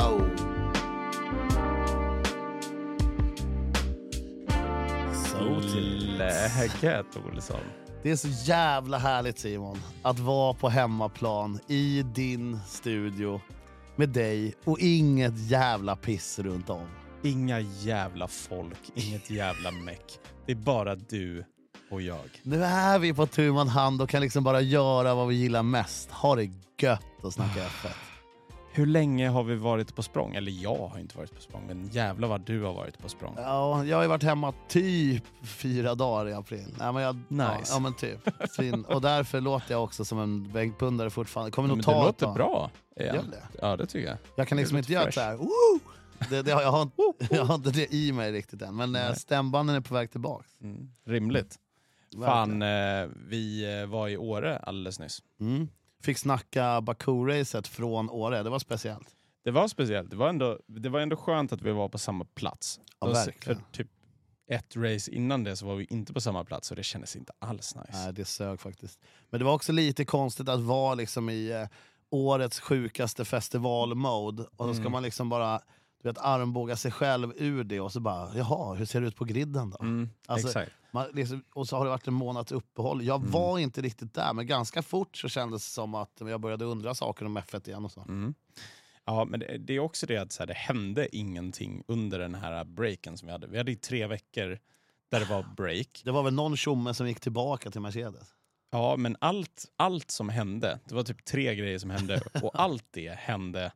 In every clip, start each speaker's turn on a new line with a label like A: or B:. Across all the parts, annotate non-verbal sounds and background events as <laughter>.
A: Oh.
B: läget Olsson?
A: Det är så jävla härligt Simon, att vara på hemmaplan i din studio med dig och inget jävla piss runt om.
B: Inga jävla folk, inget jävla meck. Det är bara du och jag.
A: Nu är vi på tu man hand och kan liksom bara göra vad vi gillar mest. Ha det gött och snacka öppet.
B: Hur länge har vi varit på språng? Eller jag har inte varit på språng, men jävla vad du har varit på språng.
A: Ja, jag har ju varit hemma typ fyra dagar i april. Nej, men jag, ja,
B: Nice.
A: ja men typ. Svin. Och därför låter jag också som en bänkpundare fortfarande. Kommer
B: Men
A: nog
B: det
A: ta ett
B: låter
A: tag.
B: bra. igen.
A: Gör det?
B: Ja, det tycker jag.
A: Jag kan liksom
B: Det
A: inte
B: låter
A: göra
B: fresh.
A: såhär woo! Det, det, har- jag, har, inte- jag har inte det i mig riktigt än. Men eh, stämbanden är på väg tillbaka.
B: Rimligt.
A: Verkligen.
B: Fan, eh, vi eh, var i Åre alldeles nyss.
A: Mm. Fick snacka Baku-racet från Åre, det var speciellt.
B: Det var speciellt. Det var ändå, det var ändå skönt att vi var på samma plats.
A: Ja,
B: Då- för
A: verkligen.
B: typ ett race innan det så var vi inte på samma plats och det kändes inte alls nice.
A: Nej, det sög faktiskt. Men det var också lite konstigt att vara liksom i eh, årets sjukaste festivalmode och då ska
B: Mm.
A: man liksom bara du vet, armbåga sig själv ur det och så bara, jaha, hur ser det ut på griden då? Alltså,
B: Mm, Exakt. Mm.
A: Man, liksom, och så har det varit en månads uppehåll. Jag var inte riktigt där, men ganska fort så kändes det som att jag började undra saker om F1 igen. Och så.
B: Mm. Ja, men det, det är också det att så här, det hände ingenting under den här breaken som vi hade. Vi hade ju tre veckor där det
A: <laughs>
B: var break.
A: Det var väl någon tjomme som gick tillbaka till Mercedes.
B: Ja, men allt, allt som hände, det var typ tre grejer
A: <laughs>
B: som hände och allt det hände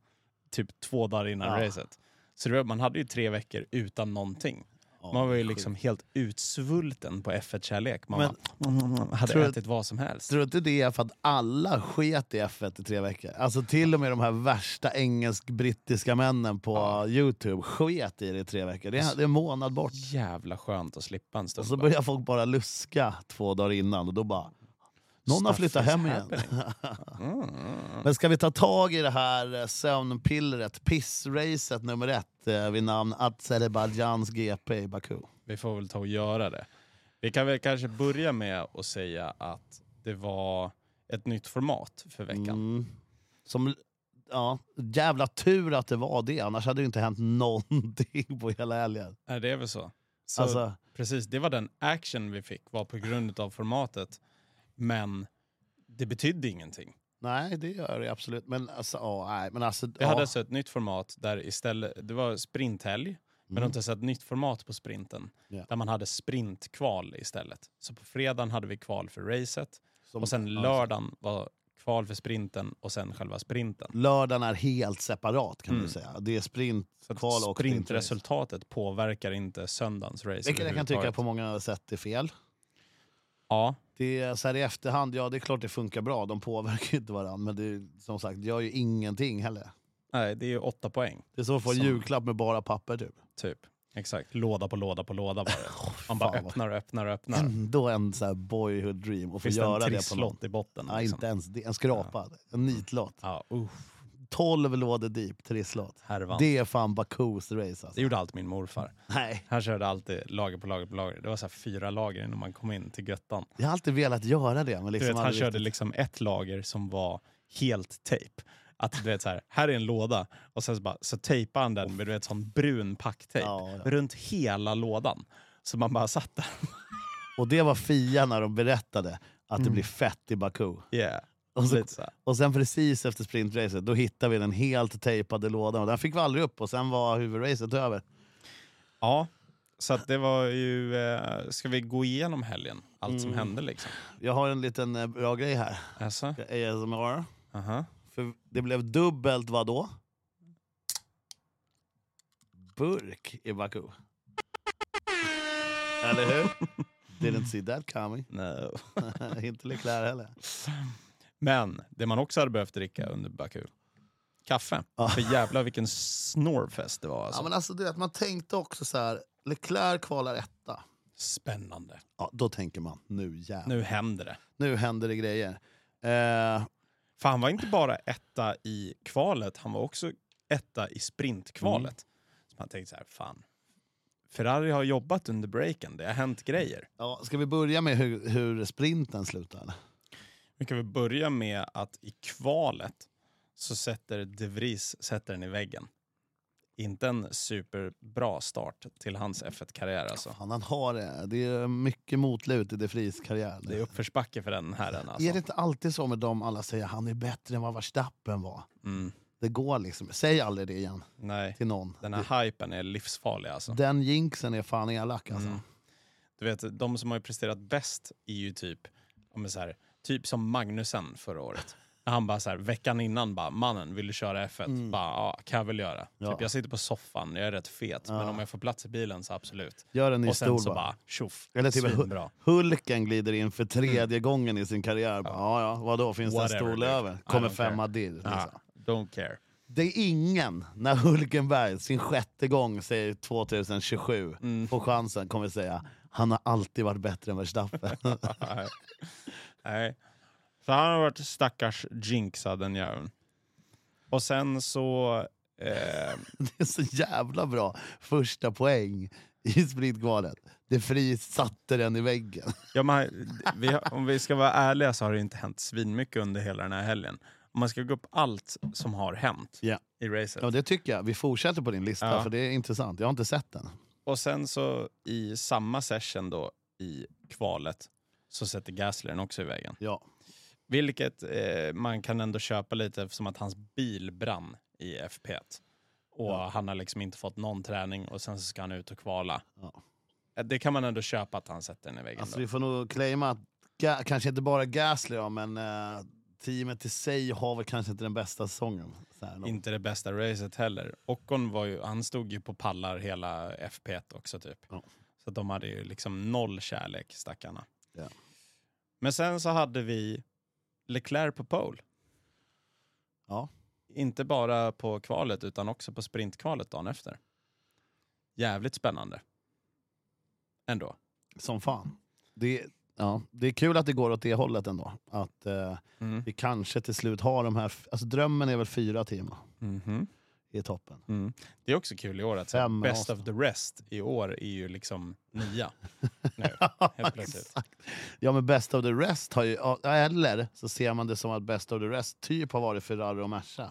B: typ två dagar innan
A: Ja.
B: racet. Så det var, man hade ju tre veckor utan någonting. man var ju liksom helt utsvulten på F1-kärlek. Man
A: Men-
B: bara, "Mm, hade
A: Tror du-
B: ätit vad som helst.
A: Tror du inte det är för att alla sket i F1 i tre veckor? Alltså till och med de här värsta engelsk-brittiska männen på Youtube sket i det i tre veckor. Det
B: Alltså-
A: är, det är en månad bort.
B: Jävla skönt att slippa en stund.
A: Och så
B: bara.
A: börjar folk bara luska två dagar innan och då bara... Någon har
B: Stuff
A: flyttat
B: is
A: hem igen.
B: happening.
A: <laughs>
B: Mm.
A: Men ska vi ta tag i det här eh, sömnpillret, pissracet nummer ett eh, vid namn Azerbajdzjans GP i Baku?
B: Vi får väl ta och göra det. Vi kan väl kanske börja med att säga att det var ett nytt format för veckan.
A: Mm. Som, ja, jävla tur att det var det, annars hade det ju inte hänt <laughs> någonting på hela helgen.
B: Nej, det är väl så. så
A: Alltså,
B: Precis, det var den action vi fick, var på grund av formatet. Men det betydde ingenting.
A: nej, det gör det absolut. Men alltså, ja, nej, men alltså...
B: Vi
A: ja.
B: hade alltså ett nytt format där istället, det var sprinthelg, men de
A: Mm.
B: testade ett nytt format på sprinten.
A: Ja.
B: Där man hade sprintkval istället. Så på fredagen hade vi kval för racet
A: Som-
B: och sen
A: ja,
B: lördagen var kval för sprinten och sen själva sprinten.
A: Lördagen är helt separat kan
B: Mm.
A: man ju säga. Det är
B: Så att
A: sprintkval och sprintrace.
B: sprintresultatet påverkar inte söndagens race.
A: Vilket jag kan tycka
B: överhuvudtaget.
A: på många sätt är fel.
B: Ja,
A: Det är, så här i efterhand, ja det är klart det funkar bra, de påverkar ju inte varandra. Men det är, som sagt, det gör ju ingenting heller.
B: nej, det är ju åtta poäng.
A: Det är som att få en
B: Som-
A: julklapp med bara papper typ.
B: Typ. Exakt. Låda på låda på
A: <laughs>
B: låda bara. Man bara
A: fan vad-
B: öppnar och öppnar och öppnar.
A: Ändå en så här boyhood dream att få
B: Finns det en
A: göra det på någon.
B: trisslott i botten?
A: Nej,
B: liksom?
A: inte ens det. En skrapa. En nitlott.
B: Ja, uff,
A: 12 lådor deep, trisslott.
B: härvan. Det...
A: Det är fan Bakus race alltså.
B: gjorde alltid min morfar.
A: Nej,
B: Han körde alltid lager på lager på lager. Det var så här fyra lager innan man kom in till göttan.
A: jag har alltid velat göra det. Men
B: Du
A: liksom
B: vet, han
A: aldrig
B: körde
A: riktigt.
B: liksom ett lager som var helt tejp. Att du vet så här, här är en låda och sen så, bara, så tejpade han den med du vet, sån brun packtejp
A: Ja, ja.
B: runt hela lådan. Så man bara satt där.
A: Och det var Fia när de berättade att det blir fett i Baku.
B: Yeah.
A: Och, så,
B: Lite så här.
A: och sen precis efter sprintracet, då hittade vi den helt tejpade lådan. Och den fick vi aldrig upp och sen var huvudracet över.
B: Ja, så att det var ju... Eh, ska vi gå igenom helgen? Allt som hände liksom?
A: Jag har en liten eh, bra grej här.
B: Alltså,
A: ASMR.
B: aha.
A: För det blev dubbelt vad då? Burk i Baku. Eller hur? Didn't see that coming.
B: No.
A: <laughs> Inte Leclerc heller.
B: Men det man också hade behövt dricka under Baku, kaffe. För jävlar vilken snorfest det var. Alltså.
A: Ja, men alltså, du vet, man tänkte också så här, Leclerc kvalar etta.
B: Spännande.
A: Ja, då tänker man, nu jävlar.
B: Nu händer det.
A: Nu händer det grejer. Eh,
B: För han var inte bara etta i kvalet, han var också etta i sprintkvalet.
A: Mm.
B: Så man tänkte så här, fan. Ferrari har jobbat under breaken, det har hänt grejer.
A: ja, ska vi börja med hur, hur sprinten slutar?
B: Vi kan väl börja med att i kvalet så sätter De Vries sätter den i väggen. Inte en superbra start till hans F1-karriär alltså.
A: Fan, han har det. Det är mycket motlut i De Vries karriär.
B: Det är uppförsbacke för den herren alltså.
A: Är det inte alltid så med dem alla säger han är bättre än vad Verstappen var?
B: Mm.
A: Det går liksom. Säg aldrig det igen
B: Nej,
A: till någon.
B: den här hypen är livsfarlig alltså.
A: Den jinxen är fan elak alltså.
B: Mm. Du vet, de som har presterat bäst är ju typ, ja, men så här, typ som Magnusen förra året. När Han bara så här, veckan innan bara, mannen vill du köra F1?
A: Mm.
B: Bara, ja, kan jag väl göra.
A: Ja.
B: Typ, jag sitter på soffan, jag är rätt fet, men
A: Ja.
B: om jag får plats i bilen så absolut.
A: Gör en ny
B: Och sen
A: stol
B: så
A: bara.
B: bara, tjoff,
A: Eller typ en-
B: svinbra. Mm.
A: Hulken glider in för tredje gången i sin karriär. Bara, Ja, ja, vadå, finns det en
B: Whatever,
A: stol
B: dude.
A: över?
B: I
A: Kommer
B: don't care.
A: femma dirr. Liksom.
B: Ja, don't
A: <laughs>
B: care.
A: Det är ingen, när Hulkenberg sin sjätte gång säger 2027,
B: Mm.
A: får chansen, kommer säga han har alltid varit bättre än Verstappen. <laughs>
B: Nej. Nej. Så han har varit stackars jinxad den jäveln. Och sen så... Eh,
A: det är så jävla bra första poäng i spritkvalet. Det fri satte den i väggen.
B: ja, men, vi, har- om vi ska vara ärliga så har det inte hänt svinmycket under hela den här helgen. Om man ska gå upp allt som har hänt
A: Ja.
B: i racet.
A: Ja, det tycker jag. Vi fortsätter på din lista,
B: Ja.
A: för det är intressant. Jag har inte sett den.
B: Och sen så i samma session då i kvalet så sätter Gasly den också i vägen.
A: Ja.
B: Vilket eh, man kan ändå köpa lite eftersom att hans bil brann i FP1. Och
A: Ja.
B: han har liksom inte fått någon träning och sen så ska han ut och kvala.
A: Ja.
B: Eh, Det kan man ändå köpa att han sätter den i väggen.
A: Alltså,
B: då.
A: vi får nog claima att, Ga- kanske inte bara Gasly, ja, men eh, teamet i sig har väl kanske inte den bästa säsongen. Så här,
B: Inte det bästa racet heller. Ockon var ju, han stod ju på pallar hela FP1 också typ.
A: Ja.
B: Så de hade ju liksom noll kärlek stackarna.
A: Ja.
B: Men sen så hade vi Leclerc på pole.
A: Ja.
B: Inte bara på kvalet utan också på sprintkvalet dagen efter. Jävligt spännande. Ändå.
A: Som fan. Det, ja, det är kul att det går åt det hållet ändå. Att eh,
B: Mm.
A: vi kanske till slut har de här... f- Alltså drömmen är väl fyra timmar
B: Mhm.
A: i toppen.
B: Mm. Det är också kul i år att så här,
A: Fem
B: Best
A: avsnitt.
B: of the rest i år är ju liksom
A: <laughs>
B: nia. nu, helt plötsligt.
A: Exakt. Ja men Best of the Rest har ju... ja, Eller så ser man det som att Best of the Rest typ har varit Ferrari och Merca.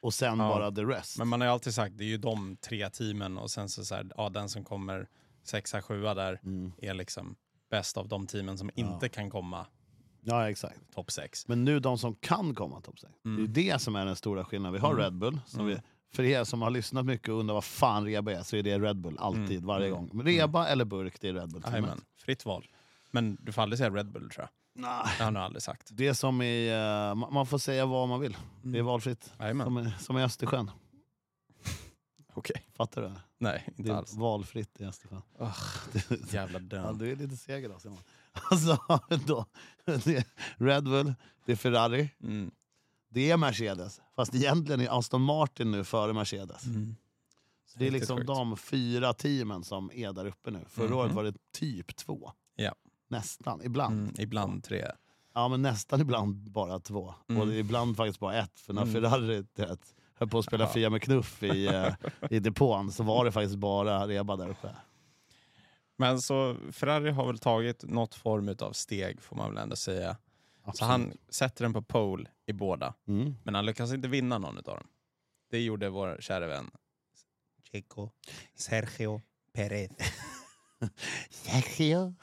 A: Och sen
B: Ja.
A: bara the rest.
B: Men man har ju alltid sagt, det är ju de tre teamen och sen så, så här, ja, den som kommer sexa, sjua där
A: Mm.
B: är liksom bäst av de teamen som inte kan komma
A: Ja exakt.
B: topp sex.
A: Men nu de som kan komma topp 6.
B: Mm.
A: Det är ju det som är den stora skillnaden. Vi har Red Bull. Som vi, för er som har lyssnat mycket och undrar vad fan reba är så är det Red Bull alltid, varje gång. Reba eller burk, det är Red Bull. till mig.
B: Mm. Jajamän, fritt val. Men du får aldrig säga Red Bull tror jag.
A: Nej.
B: Det har han aldrig sagt.
A: Det som är, eh, ma- man får säga vad man vill. Mm. Det
B: Mm.
A: är valfritt.
B: Jajamän.
A: Som, är- som i Östersjön.
B: Okej.
A: Fattar du? det?
B: Nej,
A: Det
B: inte
A: är
B: alls.
A: valfritt i Östersjön. <laughs>
B: Jävla
A: Ja,
B: dön.
A: du är lite seg idag Simon. <laughs> Alltså, då, det är Red Bull, det är Ferrari,
B: Mm.
A: det är Mercedes. Fast egentligen är Aston Martin nu före Mercedes.
B: Mm.
A: Så det är
B: Riktigt
A: liksom
B: sjukt.
A: de fyra teamen som är där uppe nu. Förra
B: Mhm.
A: året var det typ två.
B: Ja.
A: Nästan, ibland.
B: Mm. Ibland tre.
A: Ja men nästan ibland bara två.
B: Mm.
A: Och det är ibland faktiskt bara ett. För när
B: Mm.
A: Ferrari du vet, höll på att spela
B: Ja.
A: Fia med knuff i, eh, i depån så var det faktiskt bara reba där uppe.
B: Men så Ferrari har väl tagit något form av steg får man väl ändå säga. Så han sätter den på pole i båda.
A: Mm.
B: Men han lyckas inte vinna någon av dem. Det gjorde vår kära vän Checo Sergio Perez.
A: Sergio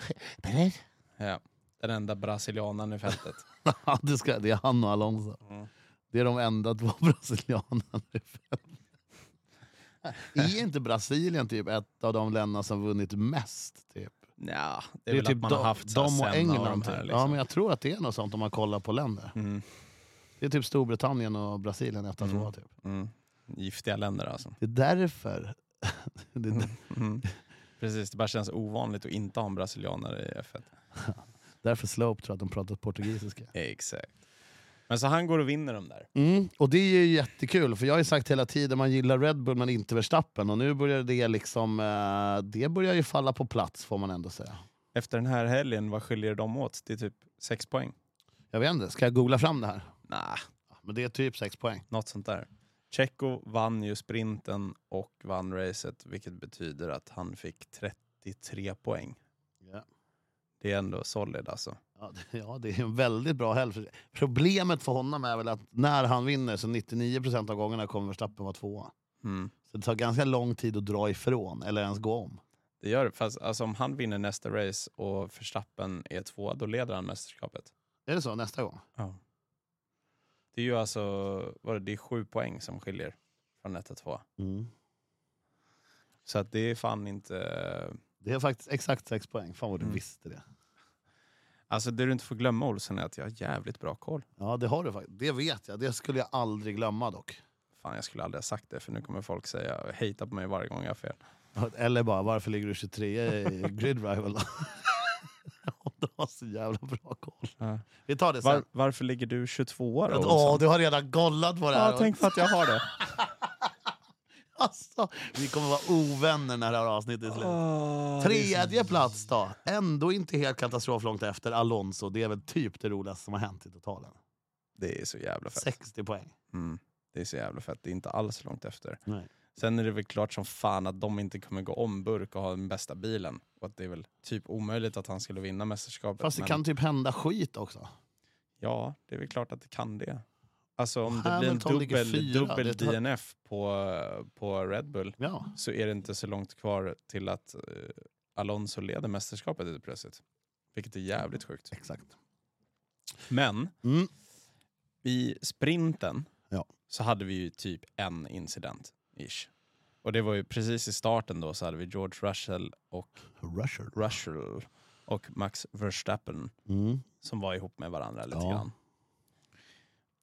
A: Perez.
B: Ja, den enda brasilianaren i fältet.
A: <laughs> Ja, det, ska, det är han och Alonso.
B: Mm.
A: Det är de enda två <laughs> brasilianerna. i
B: <laughs>
A: världen. är inte Brasilien typ ett av de länderna som vunnit mest? Typ?
B: Nja, det är,
A: är typ
B: väl att man har
A: de-
B: haft så här
A: de och
B: Senna
A: England.
B: de här,
A: typ.
B: liksom.
A: ja, men jag tror att det är något sånt om man kollar på länder.
B: mm,
A: Det är typ Storbritannien och Brasilien ett och
B: Mm.
A: två. Typ.
B: mm. Giftiga länder alltså.
A: Det är därför... <laughs> det är där- <laughs>
B: Mm. Precis, det bara känns ovanligt att inte ha en brasilianare i F1.
A: därför Slope tror att de pratar portugisiska.
B: Exakt. Men så han går och vinner de där.
A: Mm, och det är ju jättekul, för jag har ju sagt hela tiden man gillar Red Bull men inte Verstappen. Och nu börjar det liksom... eh, Det börjar ju falla på plats får man ändå säga.
B: Efter den här helgen, vad skiljer de åt? Det är typ sex poäng.
A: Jag vet inte, ska jag googla fram det här?
B: Nah,
A: Ja, Men det är typ 6 poäng.
B: Något sånt där. Checo vann ju sprinten och vann racet, vilket betyder att han fick 33 poäng.
A: Ja.
B: Det är ändå solid alltså.
A: Ja, det, ja, det är en väldigt bra helg. för- Problemet för honom är väl att när han vinner så 99% av gångerna kommer Verstappen vara tvåa.
B: Mm.
A: Så det tar ganska lång tid att dra ifrån eller ens gå om.
B: Det gör det. Fast alltså, om han vinner nästa race och Verstappen är tvåa, då leder han mästerskapet.
A: Är det så nästa gång?
B: Det är ju alltså vad är det, det är sju poäng som skiljer från ett till två.
A: Mm.
B: Så att det är fan inte...
A: Det är faktiskt exakt sex poäng. Fan vad du
B: Mm.
A: visste det.
B: Alltså det du inte får glömma Olsson är att jag har jävligt bra koll.
A: Ja, det har du faktiskt. Det vet jag. Det skulle jag aldrig glömma dock.
B: Fan jag skulle aldrig ha sagt det för nu kommer folk säga, hejta på mig varje gång jag har fel.
A: Eller bara, varför ligger du 23 i Grid Rival? <laughs> Om du har så jävla bra koll.
B: Ja.
A: Vi tar det sen.
B: Var, varför ligger du 22 då
A: Att,
B: Olsson?
A: Åh, du har redan gollat på det här.
B: liksom? Ja, tänk för att jag har det.
A: alltså, vi kommer vara ovänner när det här avsnittet är slut. Tredje plats då. Ändå inte helt katastrof långt efter Alonso. Det är väl typ det roligaste som har hänt i totalen.
B: Det är så jävla fett.
A: 60 poäng.
B: Mm. Det är så jävla fett. Det är inte alls långt efter.
A: Nej.
B: Sen är det väl klart som fan att de inte kommer gå om Burk och ha den bästa bilen. Och att det är väl typ omöjligt att han skulle vinna mästerskapet.
A: Fast det
B: men-
A: kan typ hända skit också.
B: Ja, det är väl klart att det kan det. Alltså om det blir en
A: Hamilton ligger
B: dubbel,
A: fyra, det
B: dubbel
A: tar-
B: DNF på, på Red Bull
A: Ja.
B: så är det inte så långt kvar till att eh, Alonso leder mästerskapet helt plötsligt. Vilket är jävligt sjukt.
A: Exakt.
B: Men
A: Mm.
B: i sprinten
A: Ja.
B: så hade vi ju typ en incident. Ish. Och det var ju precis i starten då så hade vi George Russell och
A: Rusher.
B: Russell och Max Verstappen
A: Mm.
B: som var ihop med varandra lite
A: Ja.
B: grann.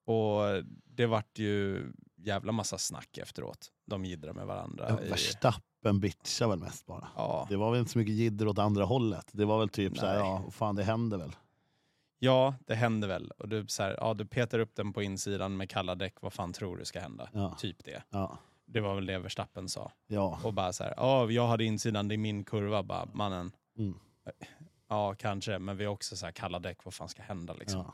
B: Och det vart ju jävla massa snack efteråt. De jiddrar med varandra. i-
A: Verstappen bitchar väl mest bara.
B: Ja.
A: Det var väl inte så mycket jidder åt andra hållet. Det var väl typ så här,
B: Nej.
A: ja, fan det händer väl.
B: ja, det hände väl. Och du, så här, ja, du petar upp den på insidan med kalla däck. Vad fan tror du ska hända?
A: Ja.
B: Typ det.
A: Ja.
B: Det var väl det Verstappen sa.
A: ja.
B: Och bara så här, ja, jag hade insidan, det är min kurva. Bara, mannen,
A: Mm.
B: ja kanske, men vi har också så här kalla däck, vad fan ska hända liksom?
A: ja.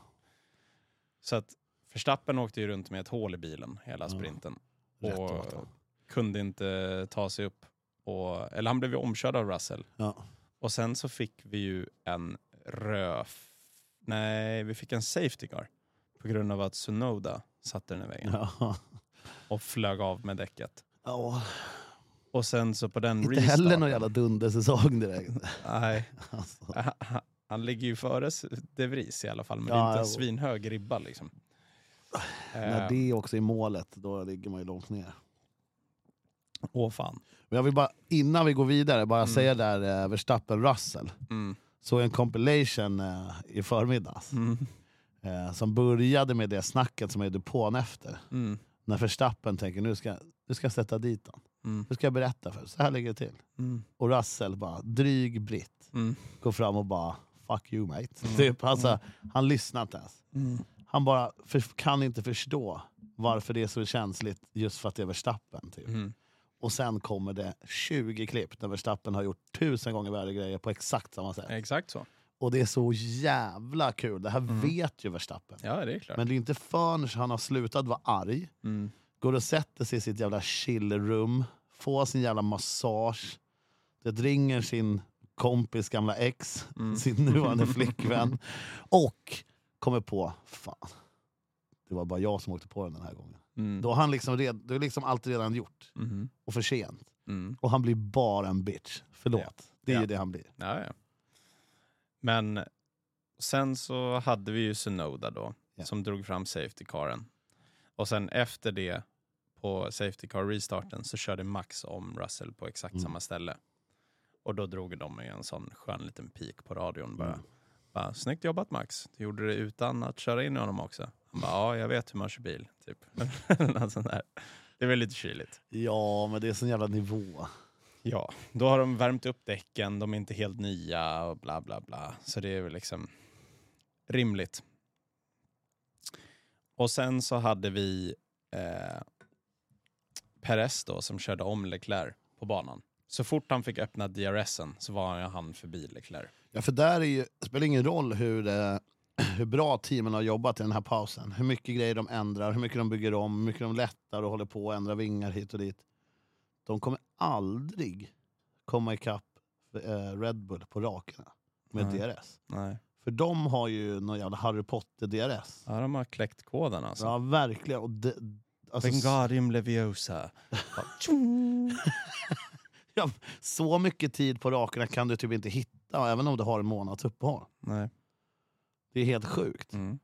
B: Så att Verstappen åkte ju runt med ett hål i bilen hela
A: Ja.
B: sprinten.
A: Rätt
B: och
A: åt honom.
B: kunde inte ta sig upp. Och, eller han blev ju omkörd av Russell.
A: Ja.
B: Och sen så fick vi ju en röf... Nej, vi fick en safety car. På grund av att Sunoda satte den i vägen <laughs>
A: Ja.
B: och flög av med däcket.
A: Ja.
B: Och sen så på den
A: Inte heller någon jävla dundersäsong direkt.
B: <laughs> Nej,
A: Alltså.
B: <laughs> han, han ligger ju före S- De Vries i alla fall, men det
A: Ja,
B: är inte en
A: jag-
B: svinhög
A: <sighs>
B: ribba liksom.
A: När
B: Eh,
A: det också är målet, då ligger man ju långt ner.
B: Eh, Åh fan.
A: Men jag vill bara, innan vi går vidare, bara säga där eh, Verstappen-Russell.
B: Mm.
A: Såg en compilation eh, i förmiddags.
B: Mm.
A: Eh, som började med det snacket som är depån efter.
B: Mm.
A: När Verstappen tänker nu ska, nu ska jag sätta dit honom.
B: Mm.
A: Nu ska jag berätta för dig. Så här ligger det till.
B: Mm.
A: Och Russell bara, dryg britt,
B: Mm.
A: går fram och bara fuck you mate. Typ, alltså, Han lyssnar inte ens.
B: Mm.
A: Han bara för, kan inte förstå varför det är så känsligt just för att det är Verstappen. Typ.
B: Mm.
A: Och sen kommer det 20 klipp där Verstappen har gjort tusen gånger värre grejer på exakt samma sätt.
B: Exakt så.
A: Och det är så jävla kul. Det här
B: Mm.
A: vet ju Verstappen.
B: Ja, det är klart.
A: Men det är inte förrän han har slutat vara arg,
B: Mm.
A: går och sätter sig i sitt jävla chillrum, får sin jävla massage, det ringer sin kompis gamla ex, sin nuvarande <laughs> flickvän och kommer på, fan, det var bara jag som åkte på den den här gången.
B: Mm.
A: Då har han liksom, red, då är liksom allt redan gjort
B: Mhm.
A: och för sent.
B: Mm.
A: Och han blir bara en bitch. Förlåt. Det är
B: Ja.
A: ju det han blir.
B: Ja, ja. Men sen så hade vi ju Sunoda då,
A: Ja.
B: som drog fram safety caren. Och sen efter det, på safety car restarten, så körde Max om Russell på exakt samma ställe. Och då drog de ju en sån skön liten pik på radion bara. bara Snyggt jobbat Max, du gjorde det utan att köra in i honom också. Han bara, ja jag vet hur man kör bil, typ. <laughs> Något sånt där. Det var lite kyligt.
A: Ja, men det är sån jävla nivå.
B: Ja, då har de värmt upp däcken, de är inte helt nya och bla bla bla. Så det är väl liksom rimligt. Och sen så hade vi eh, Perez då som körde om Leclerc på banan. Så fort han fick öppna DRSen så var han förbi Leclerc.
A: Ja, för där är ju, det spelar ingen roll hur, eh, hur bra teamen har jobbat i den här pausen. Hur mycket grejer de ändrar, hur mycket de bygger om, hur mycket de lättar och håller på och ändrar vingar hit och dit. De kommer aldrig komma ikapp eh, Red Bull på raken med
B: Nej.
A: DRS.
B: Nej.
A: För de har ju någon jävla Harry Potter-DRS.
B: Ja, de har kläckt koden alltså.
A: Ja, verkligen. Och de, Alltså,
B: Wingardium Leviosa. Bara, tjong.
A: ja, så mycket tid på raken kan du typ inte hitta, även om du har en månads uppehåll.
B: Nej.
A: Det är helt sjukt.
B: Mm.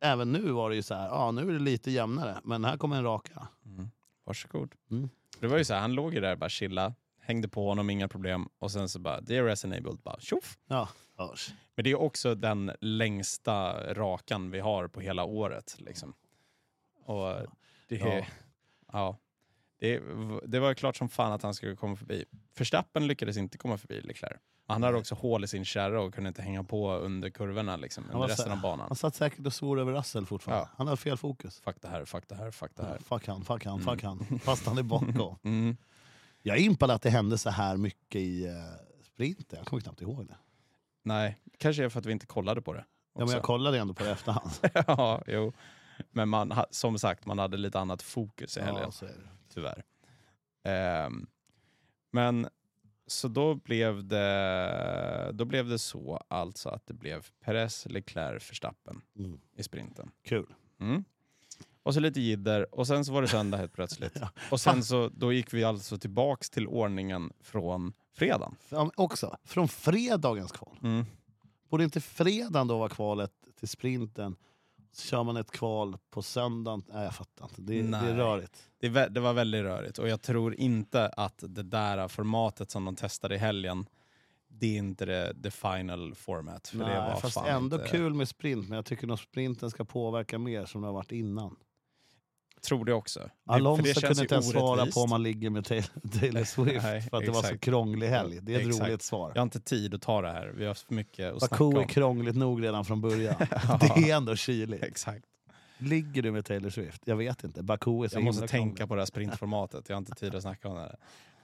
A: Även nu var det ju så här, ja nu är det lite jämnare, men här kommer en raka.
B: Mm. Varsågod.
A: Mm.
B: Det var ju så här, han låg ju där bara chilla, hängde på honom, inga problem. Och sen så bara, DRS enabled, bara tjoff.
A: Ja, hörs.
B: Men det är också den längsta rakan vi har på hela året. Liksom. Och det,
A: Ja.
B: ja. det, v- det var klart som fan att han skulle komma förbi. Förstappen lyckades inte komma förbi Leclerc. Han hade också hål i sin kärra och kunde inte hänga på under kurvorna liksom,
A: var
B: under
A: så-
B: resten av banan.
A: Han satt säkert och svor över Russell fortfarande.
B: Ja.
A: Han hade fel fokus.
B: Fuck det här, fuck det här, fuck det här.
A: Fuck han, fuck han, fuck han. Fast han är
B: <laughs>
A: bakom.
B: Mm.
A: Jag är impad att det hände så här mycket i eh, sprinten. Jag kommer knappt ihåg det.
B: Nej, kanske är för att vi inte kollade på det.
A: Ja, men
B: också.
A: jag kollade ändå på det i
B: <laughs>
A: efterhand.
B: ja, jo. Men man, ha- som sagt, man hade lite annat fokus i helgen.
A: ja, så är det.
B: tyvärr. Ehm, men så då blev, det, då blev det så alltså att det blev Perez, Leclerc, Verstappen
A: Mm.
B: i sprinten.
A: Kul.
B: Mm. Och så lite jidder och sen så var det söndag helt plötsligt. Och sen så då gick vi alltså tillbaks till ordningen från fredagen.
A: Ja, också, från fredagens kval.
B: Mm.
A: Borde inte fredagen då vara kvalet till sprinten? Så kör man ett kval på söndagen. Nej, jag fattar inte. Det, det är
B: Nej.
A: rörigt.
B: Det, vä- det var väldigt rörigt och jag tror inte att det där formatet som de testade i helgen, det är inte det, the final format. För
A: Nej,
B: det var
A: fast
B: fan
A: ändå
B: inte...
A: kul med sprint, men jag tycker nog sprinten ska påverka mer som det har varit innan.
B: Tror det också. Det- för det
A: Alonso
B: känns
A: kunde
B: ju
A: inte ens svara
B: orättvist.
A: på om man ligger med Taylor, <laughs>
B: <laughs>
A: Taylor Swift
B: Nej,
A: för att det var så
B: exakt.
A: krånglig helg. Det är ett
B: Exakt.
A: roligt svar.
B: Jag har inte tid att ta det här. Vi har haft för mycket att snacka
A: Baku
B: om.
A: är krångligt nog redan från
B: <laughs>
A: början. <laughs>
B: Ja.
A: Det är ändå kyligt.
B: Exakt.
A: Ligger du med Taylor Swift? Jag vet inte. Baku är så
B: Jag måste
A: himla
B: tänka på det här sprintformatet. Jag har inte tid att snacka om det. här.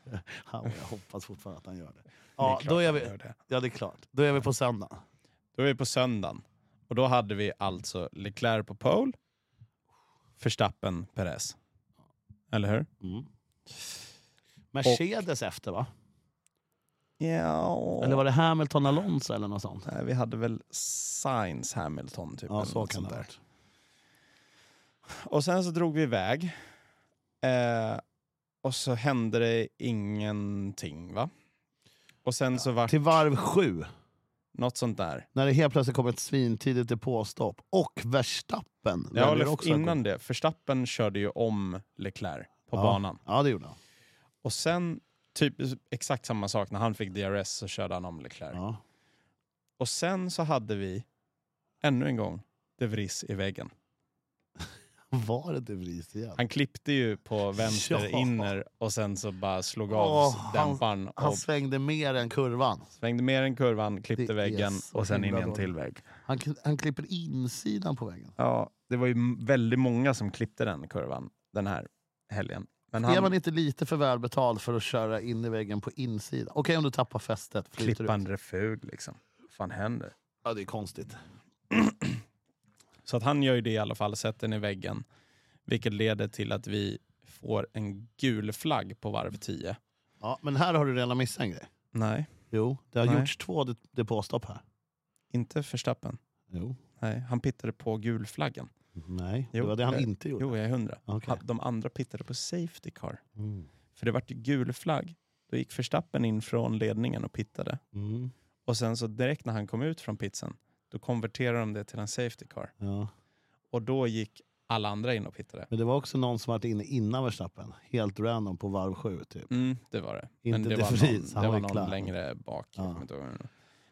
A: krångligt. Ja, jag hoppas fortfarande att han gör det.
B: Det är
A: <laughs> Ja,
B: klart
A: då är
B: jag
A: vi,
B: gör det.
A: ja, det är klart. Då är vi på söndag.
B: Då är vi på söndagen. Och då hade vi alltså Leclerc på pole, Verstappen, Perez. Eller hur?
A: Mm. Mercedes efter va?
B: Ja.
A: Eller var det Hamilton Alonso eller något sånt?
B: Nej, Eh, vi hade väl Sainz, Hamilton typ.
A: Ja,
B: eller
A: så
B: något
A: kan
B: sånt
A: det ha
B: där.
A: varit.
B: Och sen så drog vi iväg. Eh, och så hände det ingenting va? Och sen så vart
A: Till varv sju,
B: något sånt där.
A: när det helt plötsligt kommer ett svintidigt depåstopp. Och Verstappen
B: Ja,
A: väljer
B: eller
A: också att gå-
B: innan det. Verstappen körde ju om Leclerc på
A: Ja.
B: banan.
A: Ja, det gjorde han.
B: Och sen, typ exakt samma sak, när han fick DRS så körde han om Leclerc.
A: Ja.
B: Och sen så hade vi, ännu en gång, De Vries i väggen.
A: Var det De Vries igen?
B: Han klippte ju på vänster
A: <laughs> Ja.
B: inner och sen så bara slog av
A: Åh, han-
B: dämparen och
A: Han svängde mer än kurvan.
B: svängde mer än kurvan, klippte
A: Det är
B: väggen
A: så
B: och sen in i
A: himla
B: en till
A: dåligt.
B: vägg.
A: Han, kli- han klipper insidan på väggen.
B: Ja, det var ju m- väldigt många som klippte den kurvan den här helgen. Men
A: Är man
B: han
A: inte lite för välbetald för att köra in i väggen på insidan? Okej om du tappar fästet. flyter ut.
B: klippande refug liksom. Vad fan händer?
A: Ja, det är konstigt.
B: Så att han gör ju det i alla fall, sätter den i väggen. Vilket leder till att vi får en gul flagg på varv 10.
A: Ja, men här har du redan missat en grej.
B: Nej,
A: Jo, det har
B: Nej.
A: gjorts två det- depåstopp här.
B: inte Verstappen.
A: Jo.
B: Nej, han pittade på gulflaggen.
A: Nej,
B: Jo,
A: det var det han
B: eh,
A: inte gjorde.
B: Jo, jag är hundra.
A: Okej.
B: De andra pittade på safety car.
A: Mm.
B: För det vart ju gul flagg. Då gick Verstappen in från ledningen och pittade.
A: Mm.
B: Och sen så direkt när han kom ut från pitsen, då konverterade de det till en safety car.
A: Ja.
B: Och då gick alla andra in och pittade.
A: Men det var också någon som varit inne innan Verstappen. Helt random på varv sju. Typ.
B: Mm, det var det.
A: Inte
B: det
A: de
B: var
A: Vries,
B: någon,
A: han
B: det
A: var
B: var
A: ju klar.
B: någon längre bak.
A: Ja.
B: Jag kommer inte ihåg vem det var.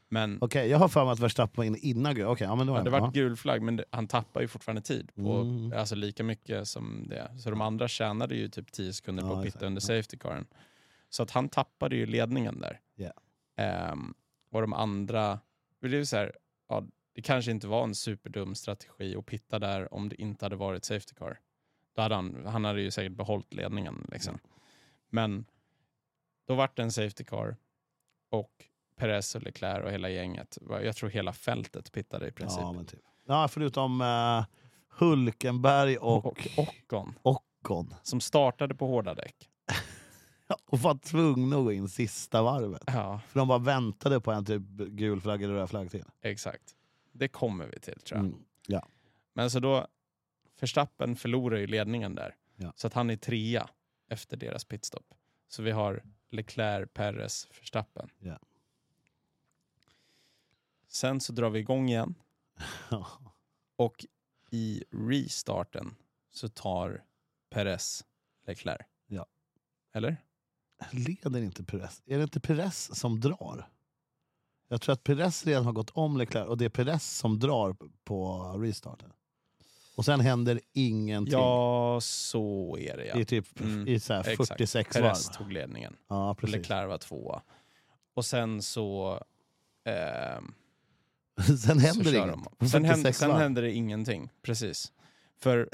B: Men
A: Okej, jag har för mig att Verstappen var inne innan Okej, ja, men då
B: Ja,
A: är
B: det
A: det.
B: vart gul flagg, men det, han tappar ju fortfarande tid. På,
A: Mm.
B: Alltså lika mycket som det. Så de andra tjänade ju typ 10 sekunder på
A: Ja,
B: att
A: exakt.
B: pitta under
A: Ja.
B: safety caren. Så att han tappade ju ledningen där.
A: Ja.
B: Ehm, och de andra... Det blev så här, ja, det kanske inte var en superdum strategi att pitta där om det inte hade varit safety car. Då hade han, han hade ju säkert behållit ledningen. Liksom. Men då vart det en safety car och Perez och Leclerc och hela gänget, jag tror hela fältet pittade i princip.
A: ja, men typ. ja, förutom eh, Hulkenberg och,
B: och Ockon
A: Ocon.
B: som startade på hårda däck.
A: Ja, Och var tvungna att gå in sista varvet.
B: Ja,
A: För de bara väntade på en typ gul flagg eller röd flagg till.
B: exakt. Det kommer vi till tror jag.
A: Mm. Ja.
B: Men så då, Verstappen förlorar ju ledningen där.
A: Ja. Ja.
B: Så att han är trea efter deras pitstop. Så vi har Leclerc, Perez, Verstappen.
A: Ja.
B: Sen så drar vi igång igen
A: Ja.
B: och i restarten så tar Perez Leclerc.
A: Ja.
B: Eller?
A: Leder inte Perez? Är det inte Perez som drar? Jag tror att Perez redan har gått om Leclerc och det är Perez som drar på restarten. Och sen händer ingenting.
B: Ja, så är det
A: Det
B: ja.
A: är typ
B: Mm,
A: i så här
B: exakt.
A: 46
B: Perez
A: varv.
B: tog ledningen.
A: Ja,
B: Precis.
A: precis.
B: Leclerc var tvåa. Och sen så... ehm,
A: <laughs> sen
B: så
A: händer
B: kör
A: inget.
B: de. Sen, hände,
A: 46
B: sen
A: varv.
B: hände det ingenting, precis. För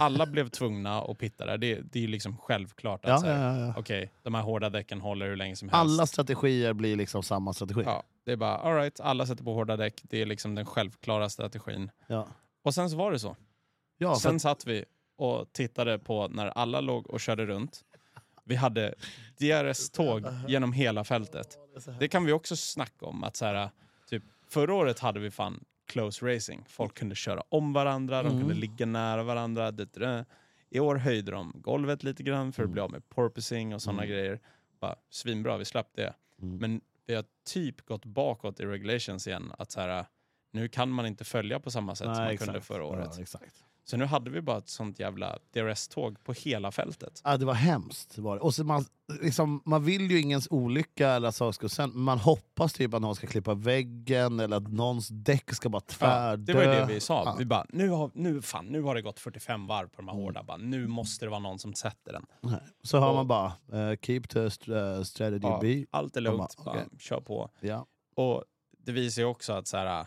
B: alla blev tvungna att pitta där. Det, det är ju liksom självklart att
A: Ja,
B: så
A: ja,
B: här,
A: ja, ja.
B: okej, de här hårda däcken håller hur länge som helst.
A: Alla strategier blir liksom samma strategi. Ja.
B: ja, det är bara, all right, alla sätter på hårda däck. Det är liksom den självklara strategin.
A: Ja.
B: Och sen så var det så.
A: för
B: sen
A: att-
B: satt vi och tittade på när alla låg och körde runt. Vi hade
A: <laughs>
B: DRS-tåg genom hela fältet. Det kan vi också snacka om. Att så här, typ, förra året hade vi fan close racing. Folk kunde köra om varandra, de
A: Mm.
B: kunde ligga nära varandra. Det, det. I år höjde de golvet lite grann för att
A: Mm.
B: bli av med porpoising och sådana grejer. Bara, svinbra, vi slapp det.
A: Mm.
B: Men vi har typ gått bakåt i regulations igen. Att så här, nu kan man inte följa på samma sätt som man
A: Nej,
B: kunde
A: exakt.
B: förra året.
A: Ja, exakt.
B: Så nu hade vi bara ett sånt jävla DRS-tåg på hela fältet.
A: Ja, det var hemskt. Var det. Och så man, liksom, man vill ju ingens olycka eller att saker ska sen, men man hoppas typ att någon ska klippa väggen eller att någons däck ska bara
B: Ja,
A: tvärdö.
B: det var ju det vi sa.
A: Ja. Mm.
B: Vi bara, nu har, nu, fan, nu har det gått 45 varv på de här hårda. Bara, nu måste det vara någon som sätter den.
A: Så hör
B: Och-
A: man bara eh, “keep to st- eh, strategy
B: Ja,
A: B”.
B: allt är lugnt,
A: Bara,
B: bara,
A: okej.
B: kör på.
A: Ja. <laughs>
B: Och det visar ju också att så här,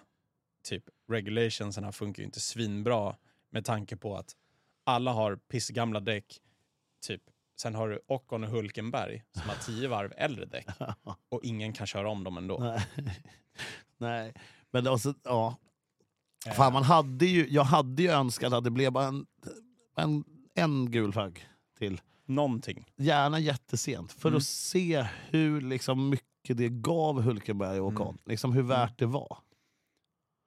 B: typ regulationserna funkar ju inte svinbra med tanke på att alla har pissgamla däck. Typ. Sen har du Ockon och Hulkenberg som har tio varv
A: <laughs>
B: äldre däck och ingen kan köra om dem ändå.
A: Nej. Nej. Men det var så, ja.
B: Eh,
A: Fan, man hade ju, jag hade ju önskat att det blev bara en, en, en gul flagg till.
B: Någonting.
A: Gärna jättesent, för
B: Mm.
A: att se hur liksom, mycket det gav Hulkenberg
B: Mm.
A: och Ocon. Liksom hur värt det var.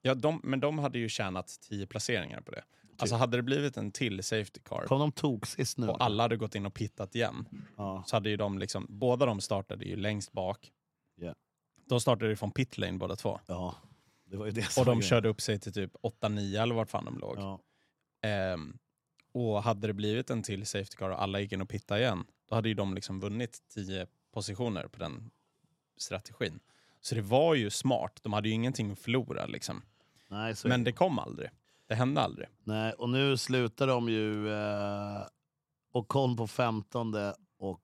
B: Ja, de, men de hade ju tjänat tio placeringar på det.
A: Typ.
B: Alltså hade det blivit en till safety car
A: Kom de tog sist nu?
B: och alla hade gått in och pittat igen
A: Ja.
B: så hade ju de liksom, båda de startade ju längst bak.
A: Ja.
B: De startade ju från pit lane båda två.
A: ja, det var ju det som
B: Och
A: var
B: de
A: grejen.
B: körde upp sig till typ 8-9 eller vart fan de låg.
A: Ja.
B: Ehm, och hade det blivit en till safety car och alla gick in och pittade igen, då hade ju de liksom vunnit 10 positioner på den strategin. Så det var ju smart. De hade ju ingenting att förlora liksom.
A: Nej, så är
B: Men
A: det.
B: det kom aldrig. Det hände aldrig.
A: Nej, och nu slutar de ju eh, Ocon på 15 och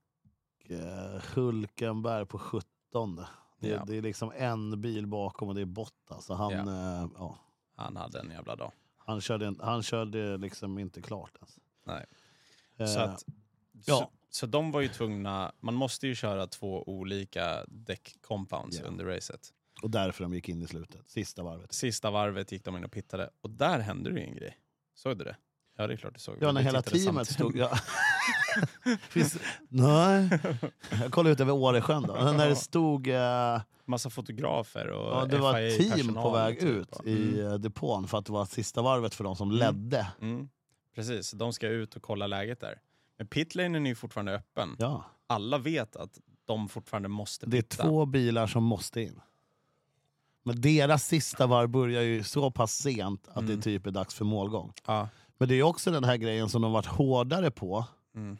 A: eh, Hulkenberg på 17. Det,
B: Ja.
A: det är liksom en bil bakom och det är Bottas. Så han, eh, ja,
B: Han hade en jävla dag.
A: han, körde, en- han körde liksom inte klart ens.
B: Nej.
A: Eh,
B: Så, att, så,
A: ja.
B: så de var ju tvungna, man måste ju köra två olika däck-compounds
A: Ja.
B: under racet.
A: Och därför de gick in i slutet, sista varvet.
B: Sista varvet gick de in och pittade och där hände det ju en grej. Såg du det? Ja det är klart du såg.
A: Ja,
B: Vi
A: när hela
B: tittade
A: teamet
B: samtidigt.
A: stod...
B: <laughs>
A: Ja. Finns, nej, jag kollade ut över Åresjön då. När det stod... Eh,
B: Massa fotografer och
A: Ja, det var ett team
B: FIA-personal
A: på väg
B: typ.
A: ut i eh, depån för att det var sista varvet för de som ledde.
B: Mm. Precis, de ska ut och kolla läget där. Men pitlanen är ju fortfarande öppen.
A: Ja.
B: Alla vet att de fortfarande måste
A: Det är
B: pitta.
A: två bilar som måste in. Men deras sista varv börjar ju så pass sent att
B: Mm.
A: det typ är dags för målgång.
B: Ja.
A: Men det är ju också den här grejen som de varit hårdare på
B: Mm.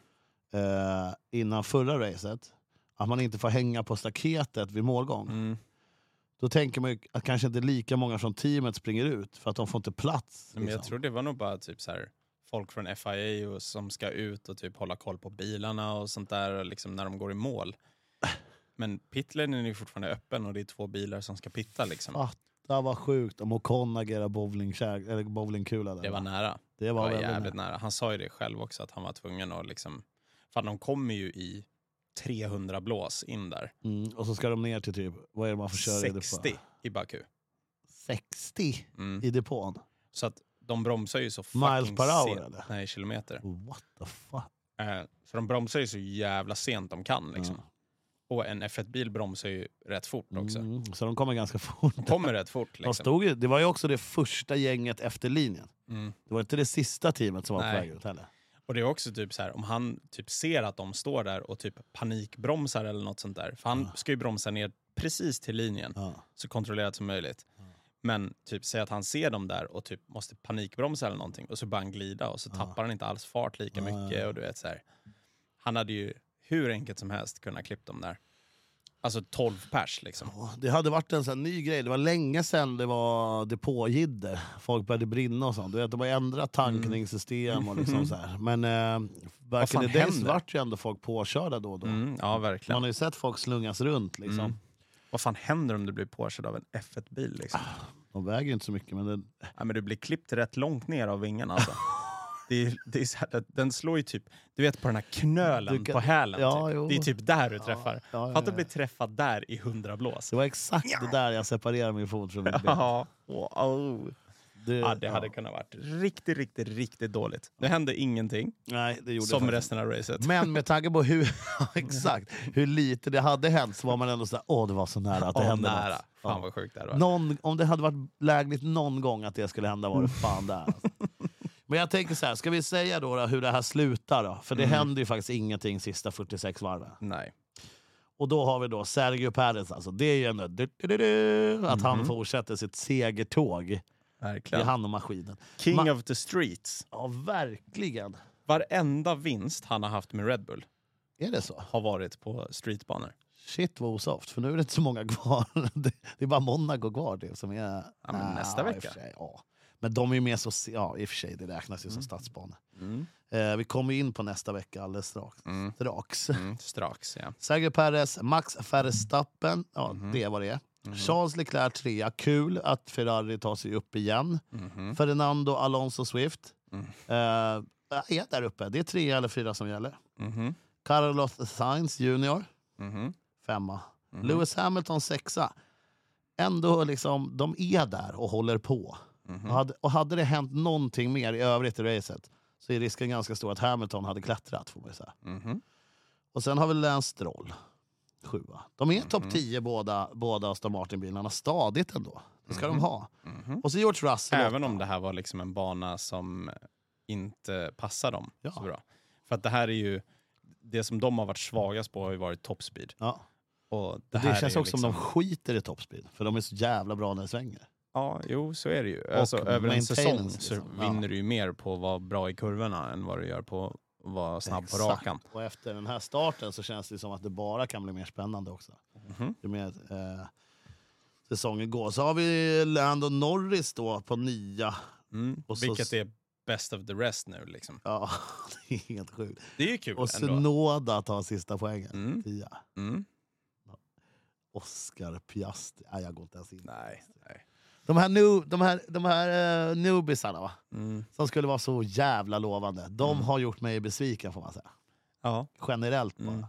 A: eh, innan förra racet. Att man inte får hänga på staketet vid målgång.
B: Mm.
A: Då tänker man ju att kanske inte lika många från teamet springer ut för att de får inte plats.
B: Nej, Men jag
A: liksom.
B: tror det var nog bara typ så här, folk från FIA och, som ska ut och typ hålla koll på bilarna och sånt där och liksom när de går
A: <laughs>
B: i mål. Men pitlanen är ju fortfarande öppen och det är två bilar som ska pitta. Liksom.
A: Fatta vad sjukt om Ocon agerar bowlingkär- eller bowlingkula där.
B: Det var nära.
A: det
B: Det
A: var
B: var
A: väldigt
B: jävligt nära. Han sa ju det själv också att han var tvungen att liksom... Fan, de kommer ju i 300 blås in där.
A: Mm, och så ska de ner till typ, vad är det man får köra i
B: 60
A: depån?
B: i Baku.
A: 60
B: Mm.
A: i depån?
B: Så att de bromsar ju så fucking
A: Miles per hour,
B: sent.
A: eller?
B: Nej, kilometer.
A: What the fuck?
B: Eh, Så de bromsar ju så jävla sent de kan. Liksom.
A: Ja.
B: Och en F1-bil bromsar ju rätt fort också.
A: Mm, så de kommer ganska <laughs> fort.
B: De kommer rätt fort.
A: <laughs> De
B: Liksom.
A: stod ju, det var ju också det första gänget efter linjen.
B: Mm.
A: Det var inte det sista teamet som var
B: Nej.
A: på väg ut heller.
B: Och det är också typ så här, om han typ ser att de står där och typ panikbromsar eller något sånt där. För han
A: Ja.
B: ska ju bromsa ner precis till linjen,
A: Ja.
B: så kontrollerat som möjligt.
A: Ah.
B: Men typ säg att han ser dem där och typ måste panikbromsa eller någonting och så bara han glida och så
A: Ja.
B: tappar han inte alls fart lika
A: Ah. Ja, ja,
B: mycket.
A: ja.
B: Och du vet, så här. Han hade ju hur enkelt som helst kunnat klippa dem där. Alltså 12 pers liksom.
A: Ja, Det hade varit en sån här ny grej. Det var länge sedan det var depåjidder. Folk började brinna och sånt. Du vet, de har ändrat
B: Mm.
A: tankningssystem och liksom så här. Men eh, back in
B: fan
A: the days
B: händer?
A: vart ju ändå folk påkörda då och då.
B: Mm, ja, verkligen.
A: Man har ju sett folk slungas runt liksom.
B: Mm. Vad fan händer om du blir påkörd av en F1-bil? Liksom?
A: De väger ju inte så mycket men det,
B: Ja, men du blir klippt rätt långt ner av vingarna.
A: <laughs>
B: Alltså. det är, det är så här, att den slår ju typ, du vet på den här knölen
A: Du kan-
B: på hälen.
A: Ja, jo.
B: typ. Det är typ där du träffar.
A: Ja, ja,
B: Fatta
A: ja.
B: att bli träffad där i hundra blås.
A: det var exakt det där jag separerade min fot från mitt ben.
B: Ja, wow.
A: Det,
B: ja, det hade
A: ja.
B: kunnat varit riktigt, riktigt, riktigt dåligt. Det hände ingenting,
A: Nej, det gjorde det
B: som
A: faktiskt.
B: resten av racet.
A: Men med tanke på
B: <laughs>
A: hur, <laughs> exakt, hur lite det hade hänt så var man ändå såhär, åh det var så nära att det
B: Åh,
A: hände
B: nära.
A: något. Ja.
B: Fan vad sjukt det hade varit.
A: Någon, om det hade varit lägligt någon gång att det skulle hända var det fan där. Alltså. <laughs> Men jag tänker så här, ska vi säga då, då hur det här slutar då? För det händer ju faktiskt ingenting sista 46 varven.
B: Nej.
A: Och då har vi då Sergio Perez, alltså det är ju ändå du, du, du, du, att han fortsätter sitt segertåg. Det är
B: Verkligen.
A: han och maskinen.
B: King
A: Ma-
B: of the streets.
A: Ja, verkligen.
B: Varenda vinst han har haft med Red Bull
A: Är det så?
B: har varit på streetbanor.
A: Shit vad osoft, för nu är det inte så många kvar. <laughs> Det, det är bara Monaco kvar. Det, som är,
B: Ja, men
A: Ah,
B: nästa
A: i och
B: vecka.
A: för sig, ja. Men de är ju med så... se- Ja, i och för sig, det räknas ju som stadsbana.
B: Mm.
A: Eh, vi kommer ju in på nästa vecka alldeles strax. strax.
B: Mm, strax, ja.
A: Sergio Perez, Max Verstappen, ja,
B: Mhm.
A: det var det. Charles Leclerc trea. Kul att Ferrari tar sig upp igen.
B: Mhm.
A: Fernando Alonso Swift.
B: Mm.
A: Eh, är där uppe. Det är tre eller fyra som gäller.
B: Mhm,
A: Carlos Sainz Junior,
B: mhm.
A: femma. Lewis Hamilton sexa. Ändå liksom, de är där och håller på.
B: Mhm.
A: Och, hade, och hade det hänt någonting mer i övrigt i racet så är risken ganska stor att Hamilton hade klättrat. Får man ju säga.
B: Mhm.
A: Och sen har vi Lance Stroll, sjua. De är
B: Mhm.
A: topp 10 båda, båda Aston Martin-bilarna, stadigt ändå. Det ska
B: Mhm.
A: de ha. Och så George Russell.
B: Även om det här var liksom en bana som inte passar dem
A: Ja.
B: så bra. För att det här är ju, det som de har varit svagast på har ju varit topspeed.
A: Ja.
B: Och det,
A: Det,
B: här
A: känns
B: är ju liksom-
A: också som de skiter i topspeed, för de är så jävla bra när det svänger.
B: Ja, jo så är det ju. Alltså,
A: Och
B: över en säsong
A: maintenance,
B: så
A: liksom. Ja.
B: vinner du ju mer på att vara bra i kurvorna än vad du gör på att vara snabb
A: Exakt.
B: på rakan.
A: Och efter den här starten så känns det som att det bara kan bli mer spännande också.
B: Mhm.
A: Ju mer eh, säsongen går. Så har vi Lando Norris då på nia.
B: Mm.
A: Och så-
B: Vilket är best of the rest nu liksom.
A: Ja, <laughs> det är helt sjukt.
B: Det är ju kul
A: Och
B: ändå.
A: Sunoda tar sista poängen.
B: Mm.
A: Tia.
B: Mm.
A: Oscar Piastri. Nej, jag går inte ens in.
B: Nej. nej.
A: De här, nu, de här, de här eh, newbiesarna va?
B: Mm.
A: som skulle vara så jävla lovande, de har gjort mig besviken får man säga.
B: Ja.
A: Generellt bara.
B: Mm.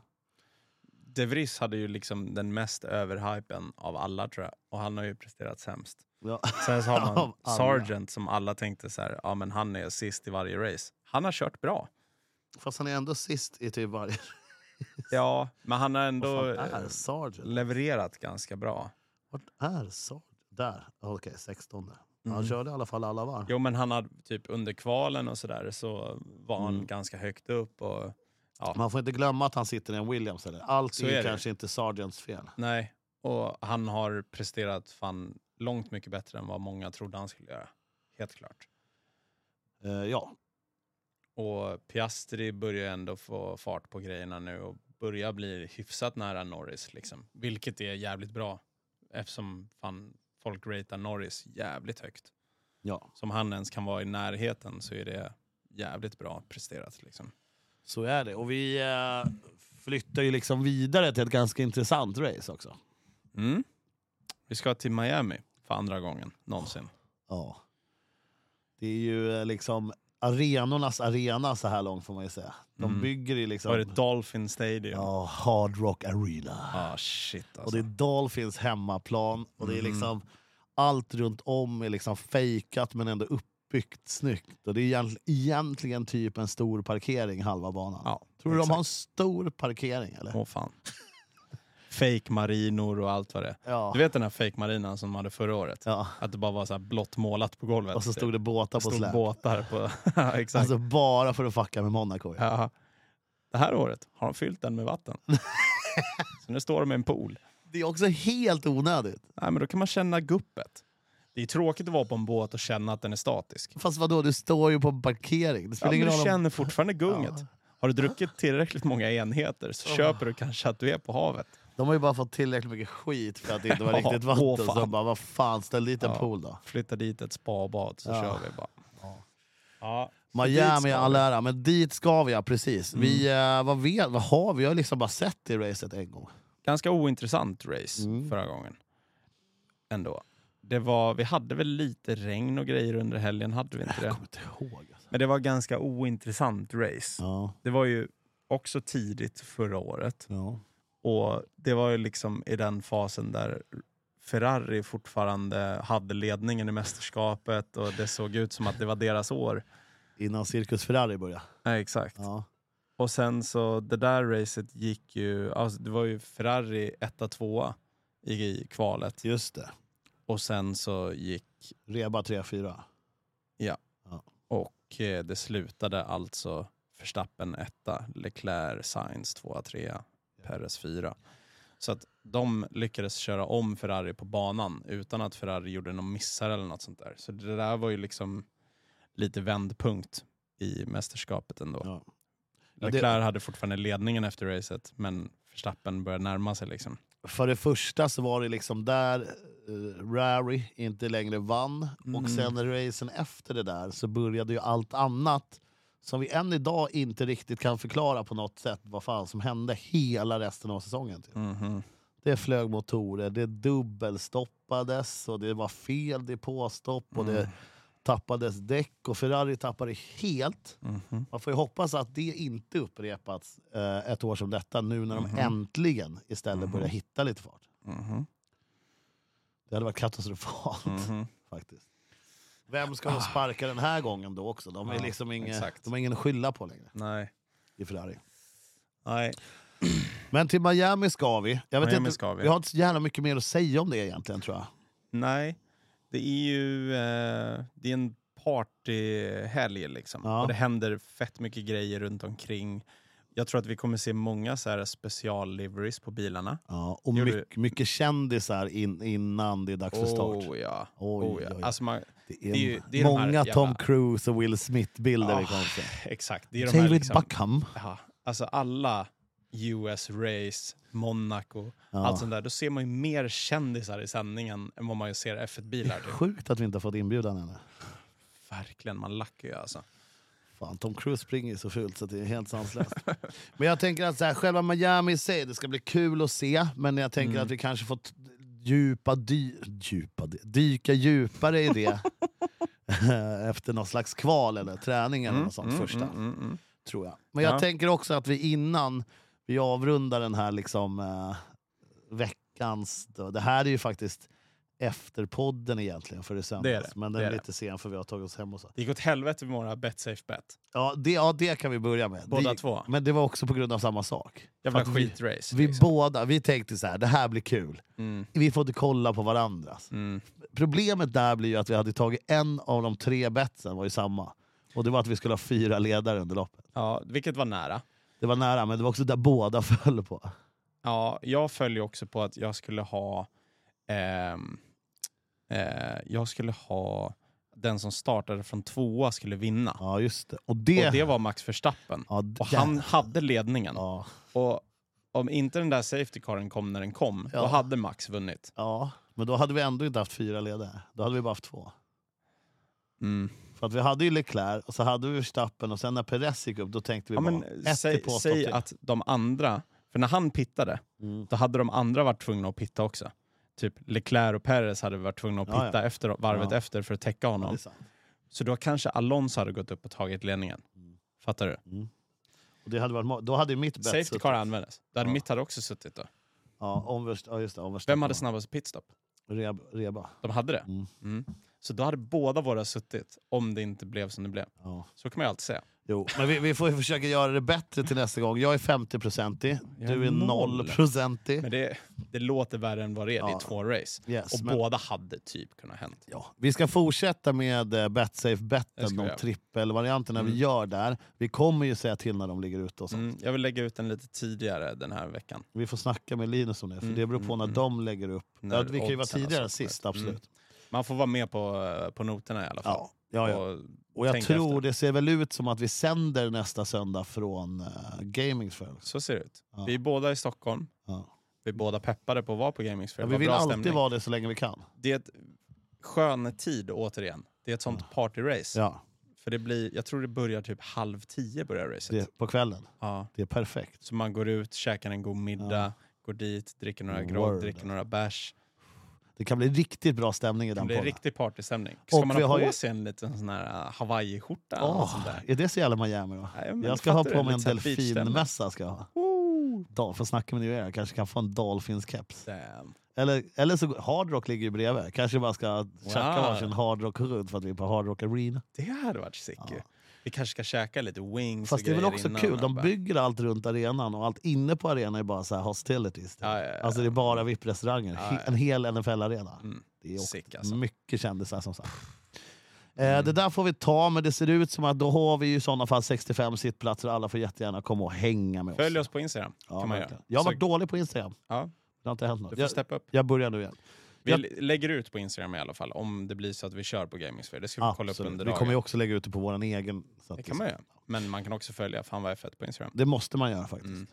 B: De Vries hade ju liksom den mest överhypen av alla tror jag. Och han har ju presterat sämst.
A: Ja. <laughs>
B: Sen så har
A: Av
B: man
A: alla.
B: Sargent som alla tänkte så här, ja men han är sist i varje race. Han har kört bra.
A: Fast han är ändå sist i typ varje...
B: Ja, men han har ändå
A: Vad fan är
B: eh,
A: Sargent?
B: levererat ganska bra.
A: Vart är Sargent? Där. Ja, Okej, 16 där. Han körde i alla fall alla varv.
B: Mm. Jo men han hade typ under kvalen och sådär så var
A: Mm.
B: han ganska högt upp och ja,
A: Man får inte glömma att han sitter i en Williams. Eller? Allt
B: Så
A: är, ju
B: är det.
A: kanske inte Sargents fel.
B: nej. Och han har presterat fan långt mycket bättre än vad många trodde han skulle göra. Helt klart.
A: Eh, ja,
B: Och Piastri börjar ändå få fart på grejerna nu och börjar bli hyfsat nära Norris. Liksom. Vilket är jävligt bra eftersom fan, folk ratear Norris jävligt högt.
A: ja,
B: Som han ens kan vara i närheten så är det jävligt bra presterat. Liksom.
A: så är det. Och vi eh, flyttar ju liksom vidare till ett ganska intressant race också.
B: Mm. Vi ska till Miami för andra gången någonsin.
A: Ja. Det är ju eh, liksom arenornas arena så här långt får man ju säga. De bygger ju liksom...
B: Var Mm. det Dolphin Stadium? Ja,
A: ja, Hard Rock Arena.
B: ah, shit
A: Och
B: alltså.
A: det är Dolphins hemmaplan och det är
B: Mm.
A: liksom allt runt om är liksom fejkat men ändå uppbyggt snyggt. Och det är egent- egentligen typ en stor parkering halva banan.
B: Ja,
A: Tror du de
B: exakt.
A: har en stor parkering eller?
B: Åh fan. fake marinor och allt vad det är.
A: Ja.
B: Du vet den här fake marinan som de hade förra året?
A: ja.
B: Att det bara var så här blått målat på golvet.
A: Och så
B: typ.
A: stod det båtar på
B: Stod
A: släp.
B: båtar på... <laughs> Ja, exakt.
A: Alltså bara för att fucka med Monaco. Ja.
B: Ja. Det här året har de fyllt den
A: <laughs>
B: med vatten. så nu står de med en pool.
A: Det är också helt onödigt.
B: Nej, men då kan man känna guppet. Det är tråkigt att vara på en båt och känna att den är statisk.
A: Fast vadå, du står ju på en parkering. Det
B: Ja,
A: spelar
B: men
A: ingen
B: du
A: roll om...
B: känner fortfarande gunget. Har du druckit tillräckligt många enheter så köper du kanske att du är på havet.
A: De har ju bara fått tillräckligt mycket skit för att det inte var
B: <laughs> Ja,
A: riktigt
B: åh,
A: vatten. så
B: fan.
A: de bara, vad fan, ställ dit en
B: Ja.
A: pool då.
B: Flytta dit ett spabad så
A: Ja.
B: kör vi bara.
A: Ja.
B: Ja. så dit ska
A: Miami i
B: vi. Mm.
A: all ära, men dit ska vi ja, precis. Vi, eh, vad, vet, vad har vi? Jag har liksom bara sett det racet en gång.
B: Ganska ointressant race
A: Mm.
B: förra gången. Ändå. Det var, vi hade väl lite regn och grejer under helgen, hade vi inte det?
A: Jag kommer inte ihåg. Alltså.
B: Men det var ganska ointressant race.
A: Ja,
B: Det var ju också tidigt förra året.
A: ja.
B: Och det var ju liksom i den fasen där Ferrari fortfarande hade ledningen i mästerskapet och det såg ut som att det var deras år.
A: Innan Cirkus Ferrari började.
B: Nej, exakt.
A: Ja.
B: Och sen så, det där racet gick ju, alltså det var ju Ferrari etta, tvåa i i kvalet.
A: Just det.
B: Och sen så gick,
A: Reba 3-4.
B: och eh, det slutade alltså Verstappen etta, Leclerc, Sainz tvåa, trea, Perez fyra. Så att de lyckades köra om Ferrari på banan utan att Ferrari gjorde någon missar eller något sånt där. Så det där var ju liksom lite vändpunkt i mästerskapet ändå.
A: Ja. Ja, det-
B: Leclerc hade fortfarande ledningen efter racet, men Verstappen började närma sig liksom.
A: För det första så var det liksom där eh, Rary inte längre vann.
B: Mm.
A: Och sen racen efter det där så började ju allt annat som vi än idag inte riktigt kan förklara på något sätt vad fan som hände hela resten av säsongen. Typ.
B: Mhm,
A: Det flög motorer, det dubbelstoppades och det var fel depåstopp och det tappades däck och Ferrari tappade helt.
B: Mhm.
A: Man får ju hoppas att det inte upprepats eh, ett år som detta nu när de äntligen istället börjar hitta lite fart.
B: Mhm.
A: Det hade varit katastrofalt
B: Mhm.
A: <laughs>
B: Ah.
A: faktiskt. Vem ska de sparka den här gången då också? De, är
B: Ja,
A: liksom inge,
B: exakt.
A: de har ingen att skylla på längre
B: Nej.
A: i Ferrari.
B: Nej.
A: Men till Miami ska vi. Jag vet
B: Miami
A: inte,
B: ska vi.
A: har inte så jävla mycket mer att säga om det egentligen tror jag.
B: Nej, det är ju eh, det är en partyhelg liksom.
A: Ja.
B: Och det händer fett mycket grejer runt omkring. Jag tror att vi kommer se många så här special-liveries på bilarna.
A: Ja, och
B: Gör du-
A: mycket, mycket kändisar in, innan det är dags för start.
B: Oh ja.
A: Oj,
B: Oh, ja.
A: oj.
B: Alltså man,
A: det är,
B: det är ju- det är de
A: många
B: här jävla-
A: Tom Cruise och Will Smith-bilder
B: Ah,
A: vi kommer se.
B: <laughs> exakt. Det är de här
A: David
B: liksom,
A: Buckham.
B: ja, alltså alla US-race, Monaco,
A: Ja.
B: allt sånt där. Då ser man ju mer kändisar i sändningen än vad man ju ser F1-bilar. Typ.
A: Sjukt att vi inte har fått inbjudan ännu.
B: Verkligen, man lackar ju alltså.
A: Mm, Fan, Tom Cruise springer ju så fult så att det är helt sanslöst. <laughs> men jag tänker att så här, själva Miami i sig, det ska bli kul att se. Men jag tänker
B: Mm.
A: att vi kanske får t- djupa, dy, djupa, dy- dyka djupare i
B: <laughs>
A: det. Efter någon slags kval eller träning eller något sånt första.
B: mm, mm.
A: Tror jag. Men jag
B: Ja.
A: tänker också att vi innan vi avrundar den här liksom, eh, veckans... Då, det här är ju faktiskt efterpodden egentligen för i söndags.
B: det.
A: Men
B: Det
A: den är
B: är det.
A: lite sen för vi har tagit oss hem och så.
B: Det gick åt helvete med våra Bet-Safe-Bet.
A: Ja det, ja, det kan vi börja med.
B: Båda
A: det,
B: två.
A: Men det var också på grund av samma sak.
B: Jävla
A: Att vi-
B: skitrace.
A: Vi
B: liksom.
A: båda vi tänkte så här, det här blir kul.
B: Mm,
A: Vi får inte kolla på varandras.
B: mm.
A: Problemet där blir ju att vi hade tagit en av de tre betsen, var ju samma. Och det var att vi skulle ha fyra ledare under loppet.
B: Ja, vilket var nära.
A: Det var nära, men det var också där båda <laughs> föll på.
B: Ja, jag följer också på att jag skulle ha... ehm, eh, jag skulle ha... Den som startade från tvåa skulle vinna.
A: Ja, just det. Och det...
B: Och det var Max Verstappen.
A: ja, d-
B: Och han hade ledningen.
A: Ja,
B: Och om inte den där safety caren kom när den kom, då
A: Ja.
B: hade Max vunnit.
A: ja, men då hade vi ändå inte haft fyra ledare. Då hade vi bara haft två.
B: Mm.
A: För att vi hade ju Leclerc, och så hade vi Verstappen, och sen när Perez gick upp, då tänkte vi
B: Ja,
A: bara...
B: men,
A: ett
B: säg
A: depåstopp
B: säg
A: till.
B: att de andra, för när han pittade,
A: Mm.
B: då hade de andra varit tvungna att pitta också. Typ Leclerc och Perez hade varit tvungna att
A: Ja, ja.
B: pitta efter varvet
A: Ja.
B: efter för att täcka
A: Ja, det
B: honom.
A: är sant.
B: Så då kanske Alonso hade gått upp och tagit ledningen.
A: Mm.
B: Fattar du?
A: Och det hade varit, mo- då hade ju mitt bett
B: Safety
A: suttit.
B: car användes. Där
A: Ja.
B: mitt hade också suttit då.
A: Ja, omvärst, ja just det, omvärst,
B: Vem hade snabbast pitstop?
A: Reba. reba.
B: De hade det.
A: Mm.
B: Mm. Så då hade båda våra suttit om det inte blev som det blev.
A: Ja.
B: Så kan man ju alltid säga.
A: Jo, men vi, vi får ju försöka göra det bättre till nästa gång. Jag är 50-procentig,
B: Jag är
A: du är
B: noll.
A: 0-procentig.
B: Men det, det låter värre än vad det är. Det
A: Ja.
B: är två race.
A: Yes,
B: och
A: men,
B: båda hade typ kunnat hänt.
A: ja. Vi ska fortsätta med eh,
B: Det ska
A: Betsafe-betten,
B: vi
A: de
B: göra.
A: trippelvarianterna vi
B: Mm.
A: gör där. Vi kommer ju säga till när de ligger ute och sånt.
B: Mm, jag vill lägga ut den lite tidigare den här veckan.
A: Vi får snacka med Linus om det, för
B: Mm,
A: det beror på
B: mm,
A: när
B: mm.
A: de lägger upp.
B: När
A: ja, vi kan ju vara
B: oddsen har
A: tidigare än
B: satt upp.
A: sist, absolut.
B: Mm. Man får vara med på, eh, på noterna i alla fall.
A: Ja, ja, ja.
B: Och,
A: Och jag
B: tänk
A: tror
B: efter.
A: det ser väl ut som att vi sänder nästa söndag från uh, Gamingsfäll.
B: så ser det ut.
A: Ja.
B: Vi är båda i Stockholm.
A: Ja.
B: Vi är båda peppade på att vara på Gamings för
A: Ja,
B: det
A: vi
B: var
A: vill
B: bra
A: alltid
B: stämning.
A: vara det så länge vi kan.
B: Det är ett skön tid återigen. Det är ett sånt partyrace.
A: Ja,
B: För det blir, jag tror det börjar typ halv tio börjar racet.
A: det, på kvällen.
B: Ja.
A: Det är perfekt.
B: Så man går ut, käkar en god middag, går dit, dricker några grogg,
A: Word.
B: dricker några bärs.
A: Det kan bli riktigt bra stämning i
B: Det
A: den
B: blir
A: podden.
B: riktig partystämning. Ska
A: Och
B: man
A: vi
B: ha
A: har
B: på
A: ju-
B: sig en liten sån här äh, hawaiiskjorta? eller något
A: Åh,
B: sånt där?
A: är det så jävla Miami då?
B: Nej, men
A: Jag ska ha
B: fattar
A: på
B: du?
A: mig en
B: Lite så här beachstämning.
A: delfinmössa. Ska jag ha. Dal, får snacka med er. Jag kanske kan få en dolfinskeps.
B: Damn.
A: Eller, eller så, Hard Rock ligger ju bredvid. Kanske bara ska tjacka
B: Wow.
A: varsin Hard Rock runt för att vi är på Hard Rock Arena.
B: Det hade varit sick ju.
A: Ja.
B: Vi kanske ska käka lite wings
A: Fast
B: och
A: det är väl
B: grejer
A: också
B: innan,
A: kul. De
B: bara.
A: bygger allt runt arenan och allt inne på arenan är bara så här hostilities.
B: Ja, ja, ja.
A: Alltså det är bara VIP-restauranger.
B: Ja,
A: He-
B: ja.
A: En hel NFL-arena.
B: Mm.
A: Det är också
B: Sick alltså. Mm.
A: mycket kändisar som sagt. Eh, det där får vi ta, men det ser ut som att då har vi ju i sådana fall 65 sittplatser och alla får jättegärna komma och hänga med oss.
B: Följ oss på Instagram.
A: Ja,
B: kan man
A: verkligen.
B: göra.
A: Jag har
B: Så-
A: varit dålig på Instagram.
B: Ja,
A: Det har inte hänt
B: du
A: något.
B: får
A: Jag,
B: steppa upp.
A: jag börjar nu igen.
B: Vi
A: Jag-
B: l- lägger ut på Instagram i alla fall om det blir så att vi kör på Gamingsphere. Det ska vi kolla upp
A: Absolut.
B: under
A: Vi
B: dagen.
A: kommer ju också lägga ut det på vår egen. Så att
B: Det kan man göra. Men man kan också följa Fan vad är fett på Instagram.
A: det måste man göra faktiskt.
B: Mm.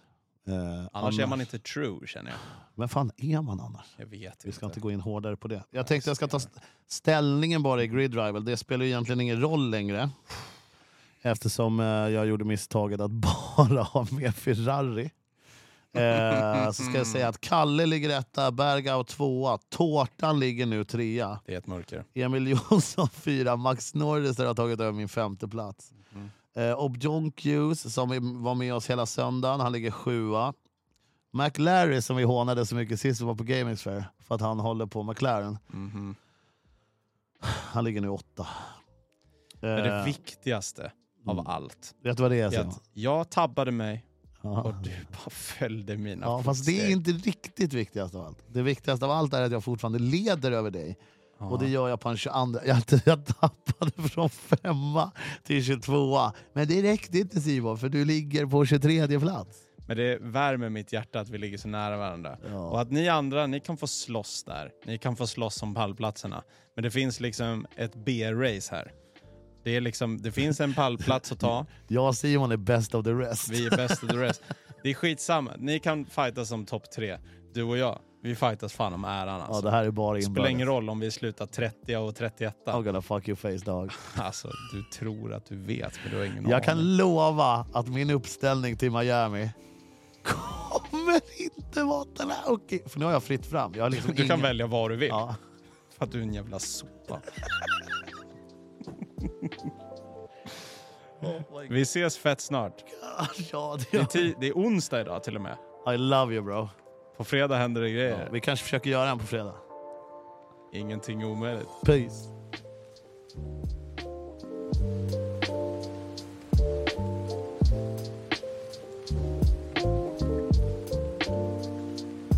A: Eh,
B: Annars är man inte true känner jag.
A: Men fan är man annars?
B: Jag vet
A: Vi ska inte
B: inte.
A: gå in hårdare på det. Jag tänkte jag ska ta st- ställningen bara i Grid Rival. Det spelar ju egentligen ingen roll längre. Eftersom eh, jag gjorde misstaget att <laughs> bara ha med Ferrari. Eh, så ska jag säga att Kalle ligger etta, Bergau tvåa, Tårtan ligger nu trea.
B: Det är ett mörker.
A: Emil <laughs> Jonsson fyra, Max Norris har tagit över min femte plats.
B: Mm.
A: Eh, Objon Hughes som är- var med oss hela söndagen, han ligger sjua. McLary som vi hånade så mycket sist som var på Gaming Sphere, för att han håller på McLaren.
B: Mhm.
A: Han ligger nu åtta.
B: Men det
A: Eh, Mm.
B: viktigaste av allt
A: vet du vad det är
B: är
A: Simon?
B: att jag tabbade mig och
A: Ja.
B: du bara följde mina
A: Ja, fast det är
B: fotsteg.
A: inte riktigt viktigast av allt. Det viktigaste av allt är att jag fortfarande leder över dig.
B: Ja.
A: Och det gör jag på en 22. Jag, jag tappade från femma till 22. Men det räckte inte Simon, för du ligger på 23 plats.
B: Men det värmer mitt hjärta att vi ligger så nära varandra.
A: Ja.
B: Och att ni andra, ni kan få slåss där. Ni kan få slåss om pallplatserna. Men det finns liksom ett B-race här. Det, är liksom, det finns en pallplats att ta,
A: Jag och Simon är best of the rest.
B: vi är bäst of the rest. Det är skitsamma, ni kan fightas om topp tre. Du och jag, vi fightas fan om äran
A: Ja,
B: alltså.
A: det här är bara
B: det spelar ingen
A: inbördes.
B: roll om vi slutar 30 och 31.
A: I'm gonna fuck your face dog.
B: Alltså, du tror att du vet, men du har ingen
A: Jag
B: aning.
A: kan lova att min uppställning till Miami kommer inte vara den här. Okej, för nu har jag fritt fram. Jag har liksom
B: <laughs> Du kan
A: ingen-
B: välja vad du vill,
A: Ja.
B: för att du är en jävla sopa. Vi ses fett snart.
A: <laughs> Ja, det
B: Det är, ti- det är onsdag idag till och med.
A: I love you bro.
B: På fredag händer det
A: Ja,
B: grejer.
A: vi kanske försöker göra en på fredag.
B: Ingenting omöjligt.
A: Peace.